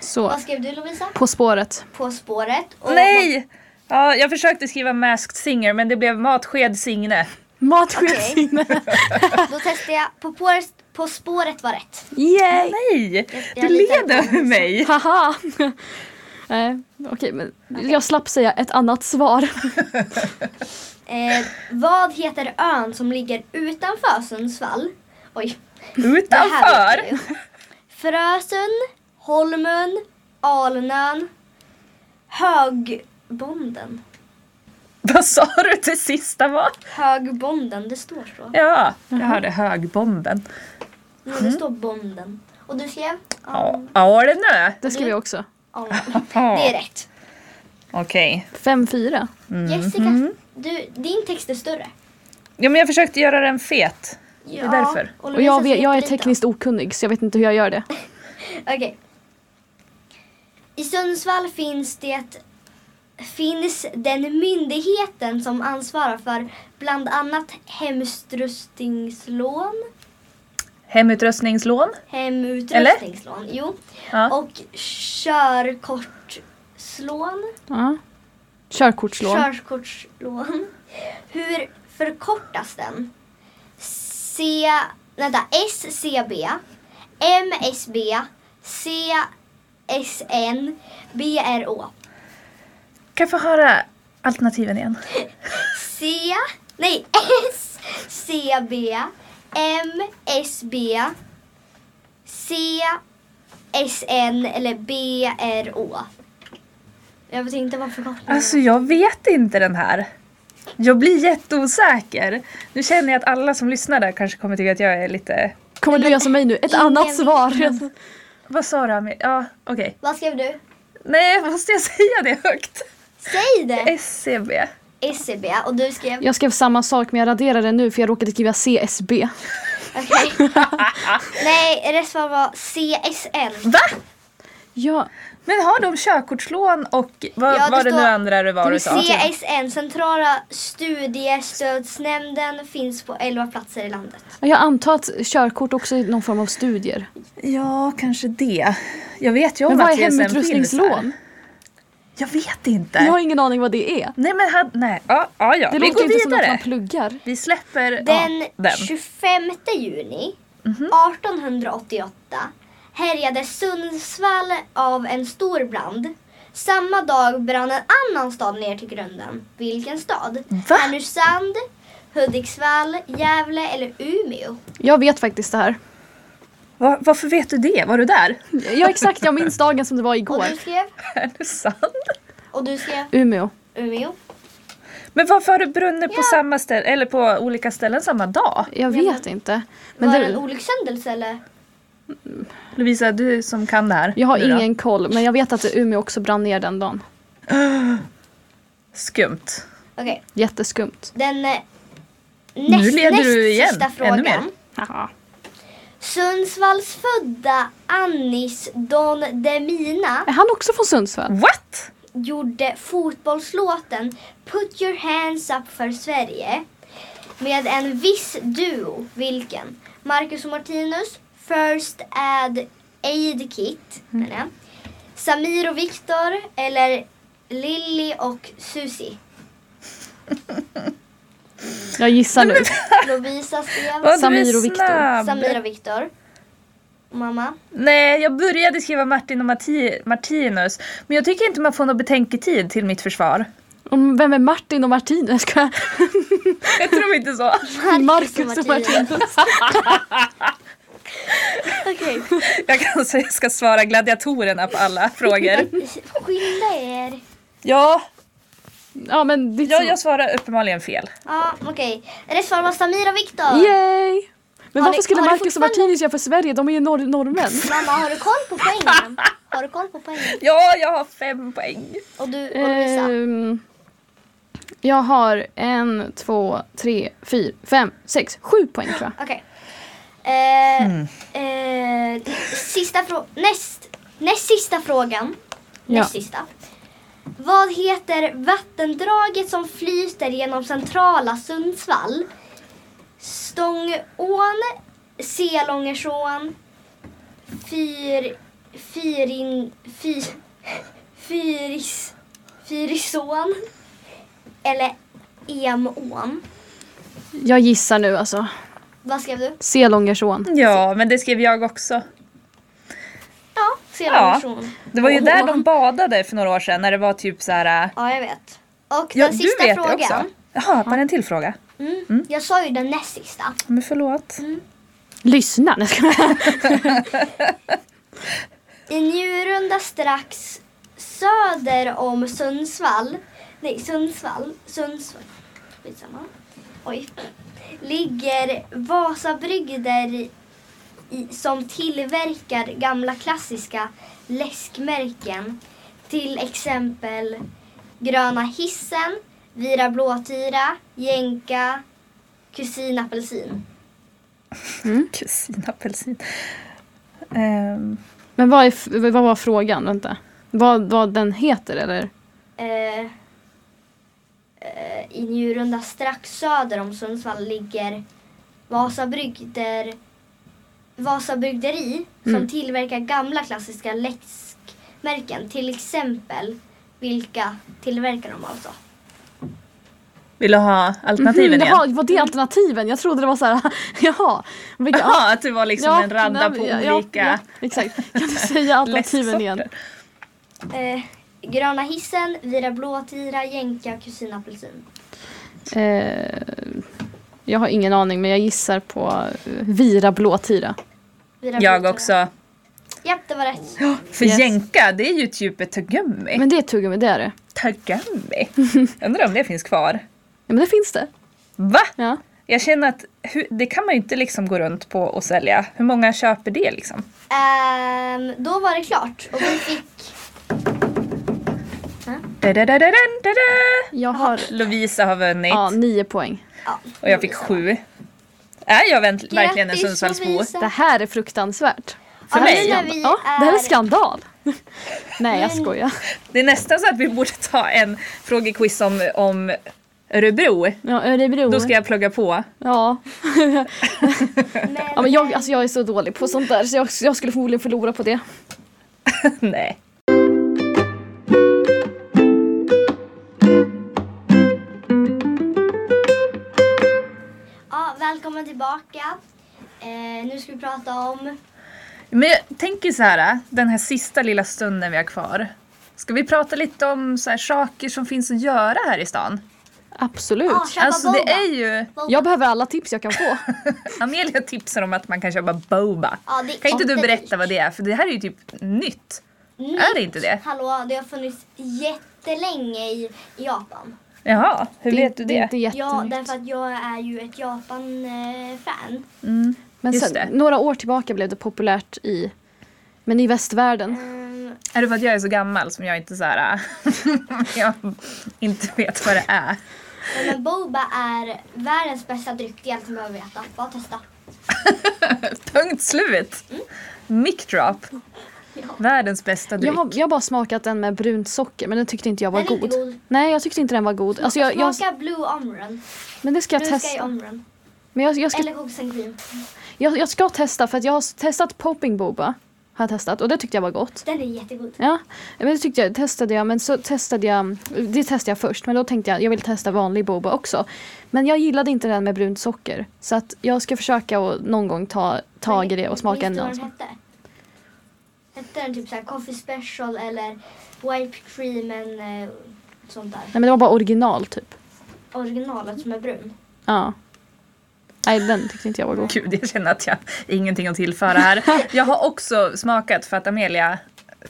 Speaker 3: Så,
Speaker 2: Vad skrev du Lovisa?
Speaker 3: På spåret.
Speaker 2: På spåret. Och
Speaker 4: nej! Ja, jag försökte skriva Masked Singer men det blev Matsked Signe.
Speaker 3: Matskedssinne.
Speaker 2: Då testar jag. På, på, på spåret var rätt.
Speaker 3: Yay!
Speaker 4: Nej! Du
Speaker 2: jag litar
Speaker 4: leder över mig.
Speaker 3: Haha! Nej, okej men jag slapp säga ett annat svar.
Speaker 2: Eh, vad heter ön som ligger utanför Sundsvall? Oj. Det här vet
Speaker 4: Utanför!
Speaker 2: du. Frösön, Holmen, Alnön, Högbonden.
Speaker 4: Vad sa du till sista var?
Speaker 2: Högbonden, det står så.
Speaker 4: Ja, jag hörde högbomben.
Speaker 2: Nej,
Speaker 3: Mm.
Speaker 2: det står bonden. Och du skrev?
Speaker 4: Ja, ja det nu.
Speaker 3: Det skrev jag också.
Speaker 2: Alnön. Det är rätt.
Speaker 4: Okej.
Speaker 3: 5-4.
Speaker 2: Jessica, du, din text är större.
Speaker 4: Ja, men jag försökte göra den fet.
Speaker 2: Ja,
Speaker 4: är därför.
Speaker 3: Och jag,
Speaker 2: Lovisa
Speaker 3: vet, jag är
Speaker 2: skrev lite.
Speaker 3: tekniskt okunnig så jag vet inte hur jag gör det.
Speaker 2: Okej. I Sundsvall finns det finns den myndigheten som ansvarar för bland annat hemstrustningslån,
Speaker 4: Hemutrustningslån.
Speaker 2: hemutrustningslån, jo,
Speaker 4: Ja.
Speaker 2: och körkortslån,
Speaker 3: Ja. Körkortslån.
Speaker 2: körkortslån. Hur förkortas den? C, vänta, SCB, MSB, CSN, BRÅ.
Speaker 4: Kan jag få höra alternativen igen?
Speaker 2: C, nej S, C, B, M, S, B, C, S, N eller B, R, O. Jag vet inte vad förkortningen
Speaker 4: Alltså jag vet inte den här. Jag blir jätteosäker. Nu känner jag att alla som lyssnar där kanske kommer tycka att jag är lite...
Speaker 3: Kommer du göra som mig nu? Ett
Speaker 2: Ingen
Speaker 3: annat
Speaker 2: vet.
Speaker 3: svar.
Speaker 4: Vad sa du Amir? Ja, okej.
Speaker 2: Vad skrev du?
Speaker 4: Nej, måste jag säga det högt?
Speaker 2: Säg det!
Speaker 4: SCB.
Speaker 2: S, C, B och du skrev?
Speaker 3: Jag skrev samma sak men jag raderade det nu för jag råkade skriva CSB.
Speaker 2: Okej. nej, rätt svar var C, S, N.
Speaker 4: Va?
Speaker 3: Ja,
Speaker 4: Men har de körkortslån och vad
Speaker 2: Ja, det
Speaker 4: var det nu
Speaker 2: står-
Speaker 4: andra det var du sa?
Speaker 2: CSN, Centrala studiestödsnämnden, finns på 11 platser i landet.
Speaker 3: jag antar att körkort också är någon form av studier.
Speaker 4: Ja, kanske det. Jag vet ju om
Speaker 3: Men vad
Speaker 4: att
Speaker 3: är
Speaker 4: CSN finns här.
Speaker 3: hemutrustningslån?
Speaker 4: Jag vet inte.
Speaker 3: Jag har ingen aning vad det är.
Speaker 4: Nej men han, nej. Ja, ja, ja.
Speaker 3: Det
Speaker 4: vi
Speaker 3: låter
Speaker 4: går
Speaker 3: inte som något man
Speaker 4: vidare.
Speaker 3: pluggar.
Speaker 4: Vi släpper
Speaker 2: Den,
Speaker 4: ja, den. Mhm.
Speaker 2: 25 juni 1888 härjades Sundsvall av en stor brand. Samma dag brann en annan stad ner till grunden. Vilken stad?
Speaker 4: Va?
Speaker 2: Härnösand, Hudiksvall, Gävle eller Umeå?
Speaker 3: Jag vet faktiskt det här.
Speaker 4: Va, varför vet du det? Var du där?
Speaker 3: Ja exakt, jag minns dagen som det var
Speaker 2: Och
Speaker 3: igår.
Speaker 2: du skrev?
Speaker 4: Är det sant?
Speaker 2: Och du skrev
Speaker 3: Umeå.
Speaker 2: Umeå?
Speaker 4: Men varför har det brunnit på
Speaker 2: Ja.
Speaker 4: samma ställe, eller på olika ställen samma dag?
Speaker 3: Jag
Speaker 2: Ja,
Speaker 3: vet inte. Men
Speaker 2: Var det
Speaker 3: det,
Speaker 2: en olyckshändelse eller?
Speaker 4: Lovisa, du som kan det här.
Speaker 3: Jag har
Speaker 4: du då?
Speaker 3: ingen koll men jag vet att Umeå också brann ner den dagen.
Speaker 4: Skumt.
Speaker 2: Okej,
Speaker 3: Jätteskumt.
Speaker 2: den eh, näst,
Speaker 4: leder
Speaker 2: näst
Speaker 4: du igen.
Speaker 2: sista
Speaker 4: Ännu
Speaker 2: frågan.
Speaker 4: mer.
Speaker 3: Jaha.
Speaker 2: Sundsvalls födda Annis Don Demina
Speaker 3: Är han också från Sundsvall?
Speaker 4: What?
Speaker 2: gjorde fotbollslåten Put your hands up för Sverige med en viss duo, vilken? Marcus och Martinus, First Aid, Aid Kit,
Speaker 3: Mm.
Speaker 2: menar jag. Samir och Viktor eller Lilly och Susie.
Speaker 3: Jag gissar nu.
Speaker 2: Lovisa skrev
Speaker 4: Vad du
Speaker 3: Samir
Speaker 4: är
Speaker 3: och Viktor.
Speaker 4: snabb.
Speaker 2: Samir och Viktor. Mamma.
Speaker 4: Nej, jag började skriva Martin och Marti- Martinus. Men jag tycker inte man får någon betänketid till mitt försvar.
Speaker 3: Om- Vem är Martin och Martinus? Ska jag-
Speaker 4: Jag tror inte så.
Speaker 3: Marcus och Martinus.
Speaker 2: Okej.
Speaker 4: Jag kan säga jag ska svara gladiatorerna på alla frågor.
Speaker 2: Skynda er.
Speaker 4: Ja,
Speaker 3: Ja men ditt
Speaker 4: ja jag svarar uppenbarligen fel.
Speaker 2: Ja, okej. Rätt svar var Samir och Viktor.
Speaker 3: Yay! Men
Speaker 2: Har
Speaker 3: varför
Speaker 2: ni-
Speaker 3: skulle
Speaker 2: har ni
Speaker 3: Marcus och
Speaker 2: fortfarande-
Speaker 3: Martinus göra för Sverige? De är ju norr- norrmän.
Speaker 2: Mamma, har du koll på poängen? Har du koll på poängen?
Speaker 4: Ja, jag har fem poäng.
Speaker 2: Och du och Lovisa?
Speaker 3: Ehm, jag har en, två, tre, fyra, fem, sex, sju poäng tror jag.
Speaker 2: Okej. Eh, eh, sista frå- näst, näst sista frågan.
Speaker 3: Ja.
Speaker 2: Näst sista. Vad heter vattendraget som flyter genom centrala Sundsvall? Stångån, Selångersån, Fyr... Fyrin... Fy, fyris... Fyrisån eller Emån?
Speaker 3: Jag gissar nu alltså.
Speaker 2: Vad skrev du?
Speaker 3: Selångersån.
Speaker 4: Ja, men det skrev jag också.
Speaker 2: Ja, Selångersån.
Speaker 4: Det var ju
Speaker 3: Åh.
Speaker 4: där de badade för några år sedan när det var typ så här... äh,
Speaker 2: Ja, jag vet. Och
Speaker 4: Ja,
Speaker 2: den
Speaker 4: du
Speaker 2: sista
Speaker 4: vet det också.
Speaker 2: frågan.
Speaker 4: Jaha, var det en till fråga?
Speaker 2: Mm, Jag sa ju den näst sista.
Speaker 4: Men förlåt.
Speaker 2: Mm.
Speaker 3: Lyssna! Nej, jag skojar.
Speaker 2: I Njurunda strax söder om Sundsvall, nej Sundsvall, Sundsvall, skitsamma. Oj. Ligger Vasabrygder i, som tillverkar gamla klassiska läskmärken. Till exempel Gröna hissen, Vira blåtira, Jänka, Kusin apelsin.
Speaker 4: Kusin apelsin. Ehm,
Speaker 3: Men vad, är, f- vad var frågan? Vänta. Vad, vad den heter eller?
Speaker 2: eh, eh, i Njurunda strax söder om Sundsvall ligger Vasabrygder, Vasabrygderi som
Speaker 3: Mm.
Speaker 2: tillverkar gamla klassiska läskmärken. Till exempel vilka tillverkar de alltså?
Speaker 4: vill du Mm-hmm, ha alternativen
Speaker 3: Mhm,
Speaker 4: igen?
Speaker 3: jaha, var det alternativen? Jag trodde det var så här, jaha. Vilka,
Speaker 4: Jaha, att det var liksom en radda
Speaker 3: nej,
Speaker 4: på
Speaker 3: ja, ja,
Speaker 4: olika
Speaker 3: Ja, exakt. Kan du säga alternativen igen?
Speaker 4: läsksorter.
Speaker 2: Eh, gröna hissen, Vira blåtira, Jänka, Kusin apelsin.
Speaker 3: Eh, jag har ingen aning men jag gissar på eh, Vira Blåtira.
Speaker 2: Vira
Speaker 4: Jag
Speaker 2: Blåtira.
Speaker 4: också.
Speaker 2: Japp, det var rätt.
Speaker 4: För
Speaker 3: Yes.
Speaker 4: jänka, det är ju typ ett tuggummi.
Speaker 3: Men det är tuggummi, det är det.
Speaker 4: Tuggummi? Undrar om det finns kvar.
Speaker 3: Ja men det finns det.
Speaker 4: Va?
Speaker 3: Ja.
Speaker 4: Jag känner att hur, det kan man ju inte liksom gå runt på och sälja. Hur många köper det liksom?
Speaker 2: Ehm, då var det klart och vi fick
Speaker 4: Da, da, da, da, da, da, da.
Speaker 3: Jag har
Speaker 4: Lovisa har vunnit
Speaker 3: ja, nio poäng.
Speaker 2: ja,
Speaker 4: och jag fick sju. Är jag vänt, verkligen en
Speaker 2: Grattis,
Speaker 4: Sundsvallsbo?
Speaker 2: Lovisa.
Speaker 3: Det här är fruktansvärt. För
Speaker 4: men
Speaker 3: mig.
Speaker 4: när
Speaker 2: vi
Speaker 3: ja, det här
Speaker 2: är-
Speaker 3: är skandal. Nej jag
Speaker 2: Men-
Speaker 3: skojar.
Speaker 4: Det är nästan så att vi borde ta en frågequiz om, om Örebro.
Speaker 3: Ja, Örebro.
Speaker 4: Då ska jag plugga på.
Speaker 3: Ja.
Speaker 2: Men,
Speaker 3: ja men jag, alltså, jag är så dålig på sånt där så jag, jag skulle förmodligen förlora på det.
Speaker 4: Nej.
Speaker 2: Ja, välkommen tillbaka. Eh, nu ska vi prata om...
Speaker 4: Men jag tänker så här, den här sista lilla stunden vi har kvar. Ska vi prata lite om så här, saker som finns att göra här i stan?
Speaker 3: Absolut.
Speaker 2: Ja, köpa
Speaker 4: alltså det
Speaker 2: boba.
Speaker 4: är ju...
Speaker 2: Boba.
Speaker 3: Jag behöver alla tips jag kan få.
Speaker 4: Amelia tipsar om att man kan köpa boba.
Speaker 2: Ja, det är
Speaker 4: kan inte du
Speaker 2: jättedyrt.
Speaker 4: berätta vad det är? För det här är ju typ nytt.
Speaker 2: Nytt.
Speaker 4: Är det inte det?
Speaker 2: Hallå, det har funnits jättelänge i i Japan.
Speaker 4: Jaha, hur vet du
Speaker 3: Det är
Speaker 4: det?
Speaker 3: inte
Speaker 2: Ja,
Speaker 3: jättenytt.
Speaker 2: därför att jag är ju ett Japan-fan.
Speaker 4: Mm.
Speaker 3: Men
Speaker 4: Just
Speaker 3: sen,
Speaker 4: det.
Speaker 3: några år tillbaka blev det populärt i, men i västvärlden.
Speaker 2: Ehm,
Speaker 4: Är det för att jag är så gammal som jag inte så här, jag inte vet vad det är?
Speaker 2: men boba är världens bästa dryck. Det är allt man behöver veta. Bara testa.
Speaker 4: Punkt slut! Mic drop. Världens bästa
Speaker 3: Jag
Speaker 4: dryck.
Speaker 3: har, jag har bara smakat den med brunt socker men den tyckte inte jag var
Speaker 2: Den är
Speaker 3: god.
Speaker 2: inte god.
Speaker 3: Nej jag tyckte inte den var god. Alltså jag, jag,
Speaker 2: Smaka Blue Omron.
Speaker 3: men det ska jag
Speaker 2: Nu ska jag
Speaker 3: testa.
Speaker 2: Omron.
Speaker 3: Men jag, jag, ska,
Speaker 2: Eller Hoxen Cream.
Speaker 3: jag, jag ska testa för att jag har s- testat popping boba. Har jag testat och det tyckte jag var gott.
Speaker 2: Den är jättegod.
Speaker 3: Ja, men det tyckte jag, testade jag men så testade jag, det testade jag först men då tänkte jag jag vill testa vanlig boba också. Men jag gillade inte den med brunt socker så att jag ska försöka och någon gång ta tag i det och smaka en
Speaker 2: Minns du vad
Speaker 3: annan.
Speaker 2: den
Speaker 3: smak.
Speaker 2: hette? Hette den typ såhär Coffee Special eller White Cream and eh, sånt där.
Speaker 3: Nej men det var bara original typ.
Speaker 2: Originalet som är brun.
Speaker 3: Ja. Nej den tyckte inte jag var god.
Speaker 4: Gud, jag känner att jag ingenting att tillföra här. Jag har också smakat för att Amelia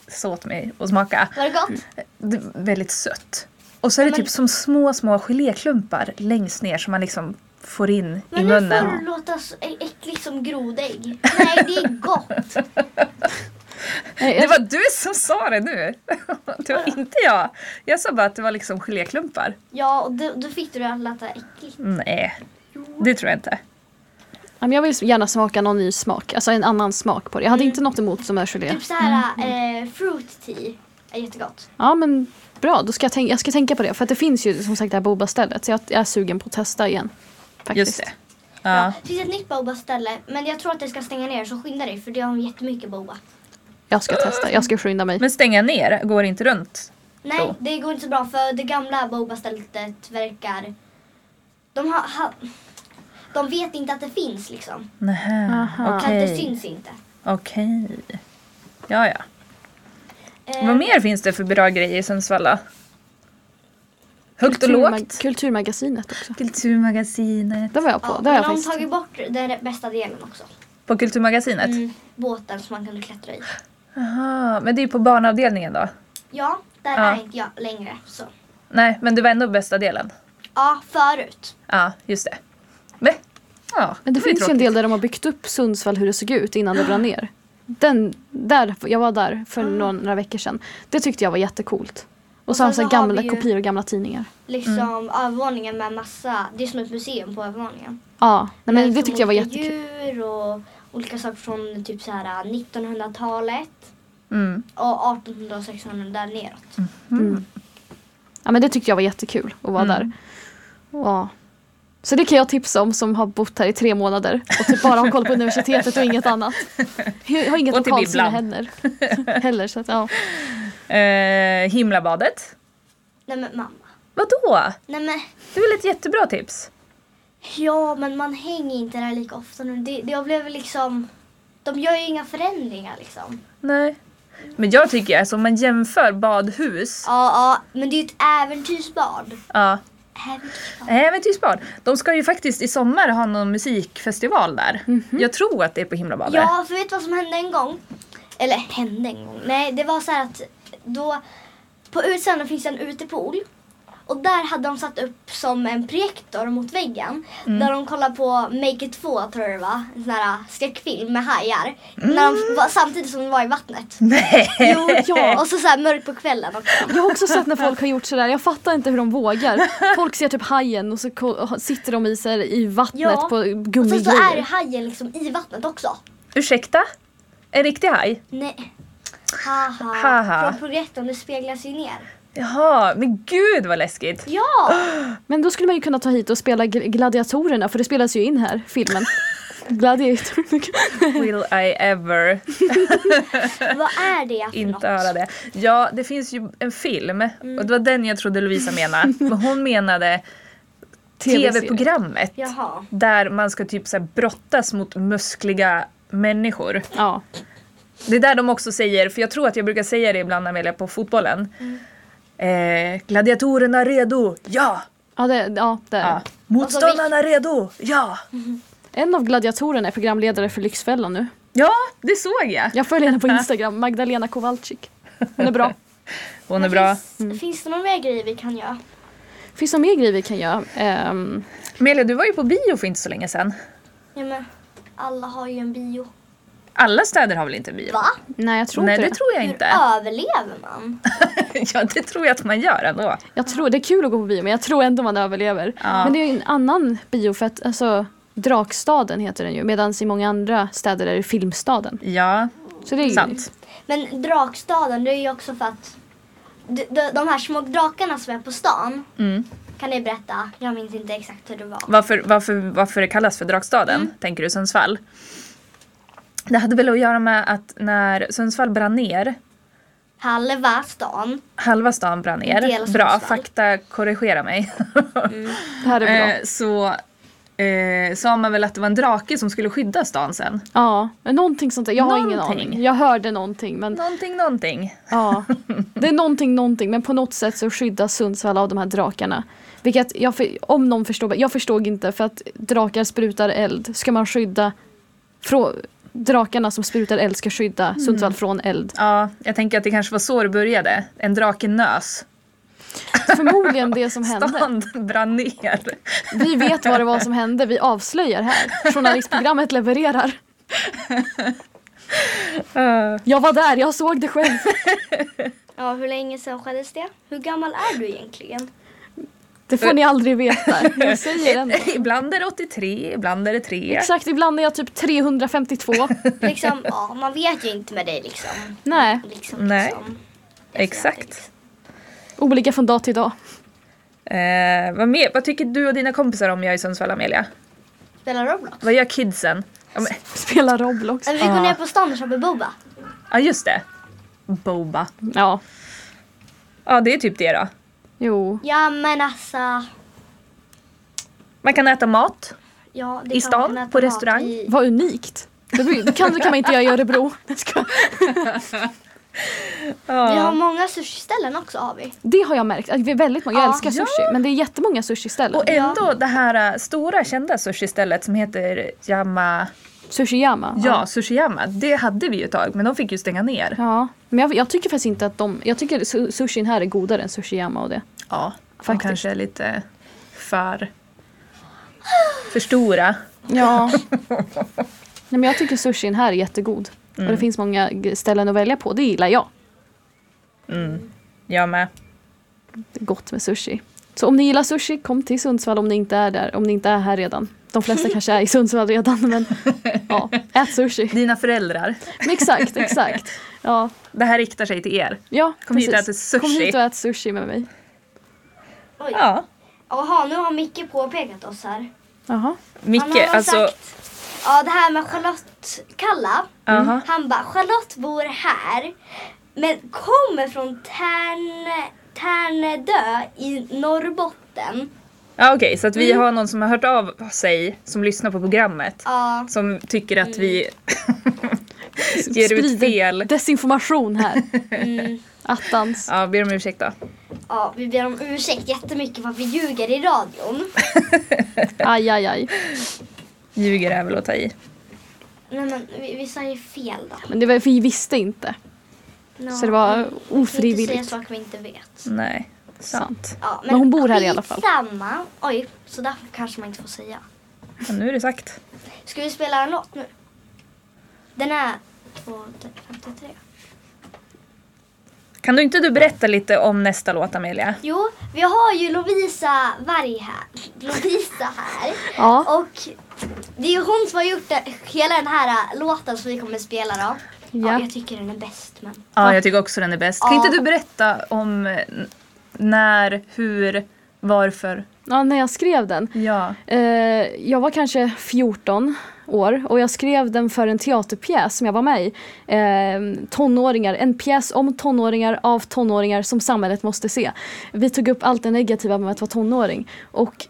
Speaker 4: sa åt mig att smaka.
Speaker 2: Var det gott?
Speaker 4: Det är väldigt sött. Och så är det
Speaker 2: Men-
Speaker 4: typ som små, små geléklumpar längst ner som man liksom får in i
Speaker 2: Men nu får
Speaker 4: munnen.
Speaker 2: du låta så ä- äckligt som grodägg. Nej, det är gott.
Speaker 3: Nej,
Speaker 4: Det
Speaker 3: jag,
Speaker 4: var du som sa det nu! Det var inte jag. Jag sa bara att det var liksom geléklumpar.
Speaker 2: Ja, och då, då fick du det att låta äckligt.
Speaker 4: Nej, det tror jag inte.
Speaker 3: ja, men jag vill gärna smaka någon ny smak, alltså en annan smak på det. Jag hade inte något emot som är gelé.
Speaker 2: Mm. Typ såhär
Speaker 3: Mm.
Speaker 2: eh, fruit tea är jättegott.
Speaker 3: Ja men bra, då ska jag, tänka, jag ska tänka på det. För att det finns ju som sagt det här boba-stället så jag, jag är sugen på att testa igen. Faktiskt.
Speaker 4: Just det.
Speaker 2: Ja.
Speaker 4: Ja.
Speaker 2: Det finns ett nytt boba-ställe men jag tror att det ska stänga ner så skynda dig för det har jättemycket boba.
Speaker 3: Jag ska testa, jag ska skynda mig.
Speaker 4: Men stänga ner går inte runt.
Speaker 2: Nej,
Speaker 4: Så.
Speaker 2: det går inte så bra för det gamla boba-stället verkar... De har... Ha, de vet inte att det finns liksom.
Speaker 4: Nähä,
Speaker 3: Aha.
Speaker 2: För att det
Speaker 4: okej.
Speaker 2: syns inte.
Speaker 4: Okej. Ja, ja.
Speaker 2: Eh,
Speaker 4: Vad mer finns det för bra grejer i Sundsvalla? Högt och
Speaker 3: Kulturma-
Speaker 4: lågt?
Speaker 3: Kulturmagasinet också.
Speaker 4: Kulturmagasinet.
Speaker 3: Det var jag på,
Speaker 2: Eh, Ja,
Speaker 3: det
Speaker 2: men
Speaker 3: har jag
Speaker 2: de har
Speaker 3: faktiskt.
Speaker 2: tagit bort den bästa delen också.
Speaker 4: På Kulturmagasinet?
Speaker 2: Mm, båten som man kunde klättra i.
Speaker 4: Aha, men det är ju på barnavdelningen då?
Speaker 2: Ja, där
Speaker 4: Ja.
Speaker 2: är inte jag längre. Så.
Speaker 4: Nej, men det var ändå bästa delen.
Speaker 2: Ja, förut.
Speaker 4: Ja, just det. Men, ja,
Speaker 3: Men det,
Speaker 4: var
Speaker 3: finns ju en
Speaker 4: tråkigt.
Speaker 3: del där de har byggt upp Sundsvall hur det såg ut innan det brann ner. Den, där, jag var där för några, några veckor sedan. Det tyckte jag var jättecoolt. Och
Speaker 2: Ah. Och
Speaker 3: så har de
Speaker 2: sen
Speaker 3: så här
Speaker 2: så har vi
Speaker 3: gamla
Speaker 2: ju-
Speaker 3: kopior och gamla tidningar.
Speaker 2: Liksom
Speaker 3: Mm.
Speaker 2: övervåningen med massa... Det är som ett museum på övervåningen.
Speaker 3: Ja, nej, men det
Speaker 2: som
Speaker 3: tyckte jag var
Speaker 2: olika
Speaker 3: jättekul.
Speaker 2: djur och olika saker från typ så här 1900-talet
Speaker 4: Mm.
Speaker 2: och 1800 och 1600 där neråt.
Speaker 3: Ja men det tyckte jag var jättekul att vara
Speaker 2: Mm.
Speaker 3: där. Ja. Så det kan jag tipsa om som har bott här i tre månader och typ bara har koll på universitetet och inget annat. Jag har inget
Speaker 4: Och till
Speaker 3: lokalsinne
Speaker 4: bibblan.
Speaker 3: heller. heller så att, ja.
Speaker 4: Eh, himlabadet?
Speaker 2: Nej men mamma.
Speaker 4: Vadå?
Speaker 2: Nej men
Speaker 4: Det är väl ett jättebra tips?
Speaker 2: ja men man hänger inte där lika ofta nu. Det, det, jag blev liksom... De gör ju inga förändringar liksom.
Speaker 4: Nej. Men jag tycker alltså om man jämför badhus,
Speaker 2: Ja, ja men det är ju ett äventyrsbad.
Speaker 4: ja.
Speaker 2: Äventyrsbad.
Speaker 4: Äventyrsbad. De ska ju faktiskt i sommar ha någon musikfestival där.
Speaker 3: Mhm.
Speaker 4: Jag tror att det är på Himlabadet.
Speaker 2: Ja, för vet du vad som hände en gång? Eller hände en gång? Nej, det var så här att då på utsidan finns en utepool och där hade de satt upp som en projektor mot väggen
Speaker 4: Mm.
Speaker 2: där de kollade på Make it 2 tror jag det var, en sån här skräckfilm med hajar när de var, samtidigt som de var i vattnet.
Speaker 4: Mm. Nej.
Speaker 2: Jo, ja. Och så, så här mörkt på kvällen också.
Speaker 3: Jag har också sett när folk har gjort sådär, jag fattar inte hur de vågar. Folk ser typ hajen och så ko- och sitter de i, så här, i vattnet
Speaker 2: Ja.
Speaker 3: på
Speaker 4: Oh,
Speaker 2: Och sen så är
Speaker 3: gummigrejer.
Speaker 2: hajen liksom i vattnet också.
Speaker 4: Ursäkta? En riktig haj?
Speaker 2: Nej. Haha.
Speaker 4: Haha.
Speaker 2: Från projektorn, det speglas ju ner.
Speaker 4: Jaha, men gud vad läskigt.
Speaker 2: Ja!
Speaker 3: Men då skulle man ju kunna ta hit och spela gl- Gladiatorerna för det spelas ju in här, filmen. Gladiator.
Speaker 4: Will I ever
Speaker 2: Vad är det för något?
Speaker 4: inte höra det. Ja, det finns ju en film och det var den jag trodde Lovisa menade. Men hon menade
Speaker 3: TV-serie.
Speaker 4: tv-programmet
Speaker 2: Jaha.
Speaker 4: där man ska typ så här brottas mot muskliga människor.
Speaker 3: Ja.
Speaker 4: Det är där de också säger, för jag tror att jag brukar säga det ibland när jag är på fotbollen. Eh, gladiatorerna redo, ja!
Speaker 3: Ja, det, ja, det är det.
Speaker 4: ja. Alltså, Motståndarna redo, ja!
Speaker 3: En av gladiatorerna är programledare för Lyxfällan nu.
Speaker 4: Ja, det såg jag.
Speaker 3: Jag följer henne på Instagram, Magdalena Kowalczyk. Hon är bra.
Speaker 4: Hon är bra.
Speaker 2: Finns, finns det några mer grejer vi kan göra?
Speaker 3: Finns det några mer grejer vi kan göra? Ehm,
Speaker 4: Melia, du var ju på bio för inte så länge sedan.
Speaker 2: Ja, men, alla har ju en bio.
Speaker 4: Alla städer har väl inte bio?
Speaker 2: Va?
Speaker 3: Nej, jag tror
Speaker 4: Nej,
Speaker 3: inte
Speaker 4: det
Speaker 3: det.
Speaker 4: tror jag
Speaker 2: Hur
Speaker 4: inte.
Speaker 2: överlever man?
Speaker 4: ja, det tror jag att man gör ändå.
Speaker 3: Jag tror, det är kul att gå på bio men jag tror ändå man överlever.
Speaker 4: Ja.
Speaker 3: Men det är ju en annan bio för att alltså, Drakstaden heter den ju medan i många andra städer är det Filmstaden.
Speaker 4: Ja,
Speaker 3: Så det är ju,
Speaker 4: sant.
Speaker 2: Men Drakstaden, det är ju också för att d- d- de här små drakarna som är på stan,
Speaker 4: Mm.
Speaker 2: kan ni berätta? Jag minns inte exakt hur det var.
Speaker 4: Varför, varför, varför det kallas för Drakstaden, tänker du, Sundsvall? Det hade väl att göra med att när Sundsvall brann ner,
Speaker 2: Halva stan.
Speaker 4: halva stan brann
Speaker 2: Del
Speaker 4: ner,
Speaker 2: av
Speaker 4: bra,
Speaker 2: Sundsvall.
Speaker 4: fakta korrigera mig,
Speaker 3: Det här är bra.
Speaker 4: Eh, så eh, sa man väl att det var en drake som skulle skydda stan sen.
Speaker 3: Ja, men någonting sånt där. Jag har ingen
Speaker 4: Någonting.
Speaker 3: aning. Jag hörde någonting men
Speaker 4: Någonting, någonting.
Speaker 3: ja. Det är någonting, någonting men på något sätt så skyddas Sundsvall av de här drakarna. Vilket jag, för- om någon förstår, jag förstod inte för att drakar sprutar eld. Ska man skydda frå, drakarna som sprutar eld ska skydda Sundsvall från eld.
Speaker 4: Ja, jag tänker att det kanske var så det började. En drake nös.
Speaker 3: Förmodligen det som hände.
Speaker 4: Stan brann ner.
Speaker 3: Vi vet vad det var som hände, vi avslöjar här. Journalistprogrammet levererar.
Speaker 4: Eh,
Speaker 3: Jag var där, jag såg det själv.
Speaker 2: Ja, hur länge sedan skeddes det? Hur gammal är du egentligen?
Speaker 3: Det får ni aldrig veta. Jag säger ändå.
Speaker 4: ibland är det 83, ibland är det 3.
Speaker 3: Exakt, ibland är jag typ 352.
Speaker 2: Liksom, ja, man vet ju inte med dig liksom.
Speaker 3: Nej,
Speaker 2: liksom
Speaker 4: Nej.
Speaker 2: Liksom.
Speaker 4: Exakt.
Speaker 3: olika från dag till dag.
Speaker 4: Eh, vad, mer, vad tycker du och dina kompisar om jag i Sundsvall, Amelia?
Speaker 2: Spelar Roblox.
Speaker 4: Vad gör kidsen? Ja, men-
Speaker 3: Spela Roblox.
Speaker 2: Men vi går
Speaker 4: Ja.
Speaker 2: ner på stan och köper boba.
Speaker 4: Ja, just det. Boba.
Speaker 3: Ja,
Speaker 4: Ja, det är typ det då.
Speaker 3: jo.
Speaker 2: Ja men alltså.
Speaker 4: Man kan äta mat.
Speaker 2: Ja, det
Speaker 4: I
Speaker 2: kan
Speaker 4: stan?
Speaker 2: man äta
Speaker 4: På
Speaker 2: mat
Speaker 4: restaurang?
Speaker 2: i-
Speaker 3: Vad unikt. Det blir- det kan, det kan man inte göra i Örebro. Jag skojar.
Speaker 2: Vi har
Speaker 4: Ja.
Speaker 2: många sushiställen också har vi.
Speaker 3: Det har jag märkt. att vi är Väldigt många. Jag
Speaker 2: Ja.
Speaker 3: älskar sushi. Men det är jättemånga sushi-ställen.
Speaker 4: Och ändå det här eh, stora kända sushi-stället som heter Yama...
Speaker 3: Sushiyama.
Speaker 4: Ja, Sushiyama. Det hade vi ju ett tag, men de fick ju stänga ner.
Speaker 3: Ja, men jag, jag tycker faktiskt inte att de... Jag tycker su- sushin här är godare än sushiyama och det.
Speaker 4: Ja, de
Speaker 3: Faktiskt.
Speaker 4: kanske är lite för... För stora.
Speaker 3: Ja. Nej, men jag tycker sushin här är jättegod. Och det finns många g- ställen att välja på. Det gillar jag.
Speaker 4: Jag med.
Speaker 3: Det är gott med sushi. Så om ni gillar sushi, kom till Sundsvall om ni inte är där. Om ni inte är här redan. De flesta kanske är i Sundsvall redan men ja, ät sushi.
Speaker 4: Dina föräldrar.
Speaker 3: Men exakt, exakt. Ja,
Speaker 4: Det här riktar sig till er.
Speaker 3: ja
Speaker 4: Kom hit och
Speaker 3: precis.
Speaker 4: ät sushi.
Speaker 3: Kom hit och ät sushi med mig.
Speaker 2: Oj.
Speaker 4: Ja.
Speaker 2: Jaha, nu har Micke påpekat oss här.
Speaker 3: Jaha.
Speaker 2: Han har
Speaker 4: Micke,
Speaker 2: väl
Speaker 4: alltså...
Speaker 2: sagt, ja det här med Charlotte Kalla.
Speaker 4: Aha.
Speaker 2: Han bara, Charlotte bor här men kommer från Tärn, Tärnedö i Norrbotten.
Speaker 4: Ja, Okej, så att vi
Speaker 3: Mm.
Speaker 4: har någon som har hört av sig som lyssnar på programmet.
Speaker 2: Ja,
Speaker 4: Som tycker att vi ger ut
Speaker 3: Sprider
Speaker 4: fel.
Speaker 3: Desinformation här.
Speaker 2: mm,
Speaker 3: Attans.
Speaker 4: Ja, ber om ursäkt då.
Speaker 2: ja, vi ber om ursäkt jättemycket för att vi ljuger i radion.
Speaker 3: Aj, aj, aj.
Speaker 4: Ljuger är väl att ta i.
Speaker 2: Nej men vi, vi sa ju fel då.
Speaker 3: Men det var, vi visste inte.
Speaker 2: Ja,
Speaker 3: Så det var
Speaker 2: Vi kan inte
Speaker 3: ofrivilligt.
Speaker 2: säga saker vi inte vet.
Speaker 4: Nej, sant.
Speaker 2: Ja,
Speaker 3: Men hon bor här i alla fall.
Speaker 2: Samma. Oj, så där kanske man inte får säga.
Speaker 4: Men nu är det sagt.
Speaker 2: Ska vi spela en låt nu? Den är 2.53.
Speaker 4: Kan du inte du berätta lite om nästa låt, Amelia?
Speaker 2: Jo, vi har ju Lovisa Varg här. Lovisa här.
Speaker 3: Ja.
Speaker 2: Och det är ju hon som har gjort det, hela den här ä, låten som vi kommer spela då. Ja.
Speaker 3: Ja.
Speaker 2: jag tycker den är bäst men.
Speaker 4: Ja, jag tycker också den är bäst. Kan
Speaker 2: Ja.
Speaker 4: inte du berätta om eh, när, hur, varför?
Speaker 3: ja, när jag skrev den.
Speaker 4: Ja.
Speaker 3: Eh, jag var kanske 14 år och jag skrev den för en teaterpjäs som jag var med i. Eh, tonåringar, en pjäs om tonåringar av tonåringar som samhället måste se. Vi tog upp allt det negativa med att vara tonåring. Och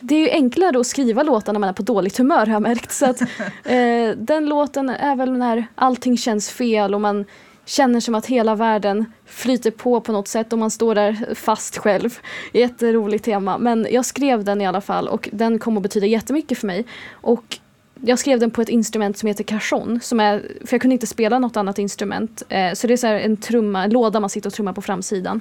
Speaker 3: det är ju enklare att skriva låtar när man är på dåligt humör har jag märkt. Så att, eh, den låten är väl när allting känns fel och man känner som att hela världen flyter på på något sätt och man står där fast själv. Jätteroligt tema. Men jag skrev den i alla fall och den kom att betyda jättemycket för mig. Och jag skrev den på ett instrument som heter cajon. Som är, för jag kunde inte spela något annat instrument. Eh, så det är så här en trumma, en låda man sitter och trummar på framsidan.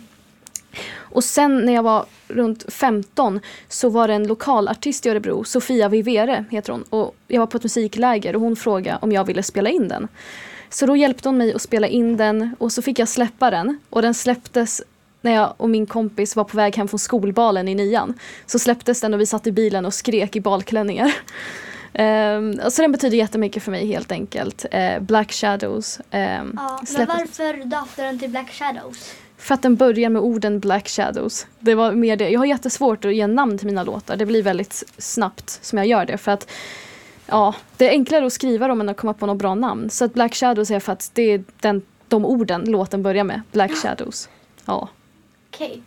Speaker 3: Och sen när jag var runt 15 så var det en lokal artist i Örebro, Sofia Vivere heter hon. Och jag var på ett musikläger och hon frågade om jag ville spela in den. Så då hjälpte hon mig att spela in den och så fick jag släppa den. Och den släpptes när jag och min kompis var på väg hem från skolbalen i nian. Så släpptes den och vi satt i bilen och skrek i balklänningar. Ehm, så den betyder jättemycket för mig helt enkelt. Eh, Black Shadows. ehm,
Speaker 2: Ja, men
Speaker 3: släpptes-
Speaker 2: varför döpte den till Black Shadows?
Speaker 3: för att den börjar med orden Black Shadows. Det var mer det. Jag har jättesvårt att ge namn till mina låtar. Det blir väldigt snabbt som jag gör det. För att ja, Det är enklare att skriva dem än att komma på något bra namn. Så att Black Shadows är för att det är den, de orden låten börjar med. Black Shadows. Ja.
Speaker 2: Okej.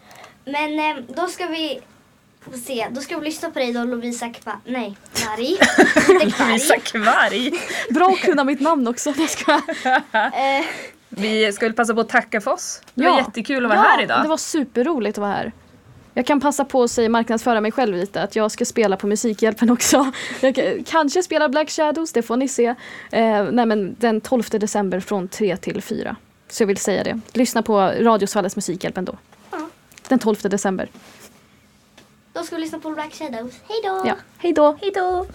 Speaker 2: Men eh, då ska vi få se. Då ska vi lyssna på dig då Lovisa Kva... Nej, Kvarg. Inte
Speaker 4: Visa
Speaker 2: Kvarg.
Speaker 4: kvarg.
Speaker 3: Bra att kunna mitt namn också. Jag ska...
Speaker 2: Eh,
Speaker 4: Vi ska väl passa på att tacka för oss. Det var
Speaker 3: Ja.
Speaker 4: jättekul att vara här idag.
Speaker 3: Det var superroligt att vara här. Jag kan passa på att säga, marknadsföra mig själv lite, att jag ska spela på Musikhjälpen också. Jag kan, kanske spela Black Shadows, det får ni se. Eh, nej men den 12 december från 3 till 4. Så jag vill säga det. Lyssna på Radio Svallets Musikhjälp ändå.
Speaker 2: Ja.
Speaker 3: Den 12 december.
Speaker 2: då ska vi lyssna på Black Shadows. Hej då!
Speaker 3: Ja. Hej då!
Speaker 2: Hej då!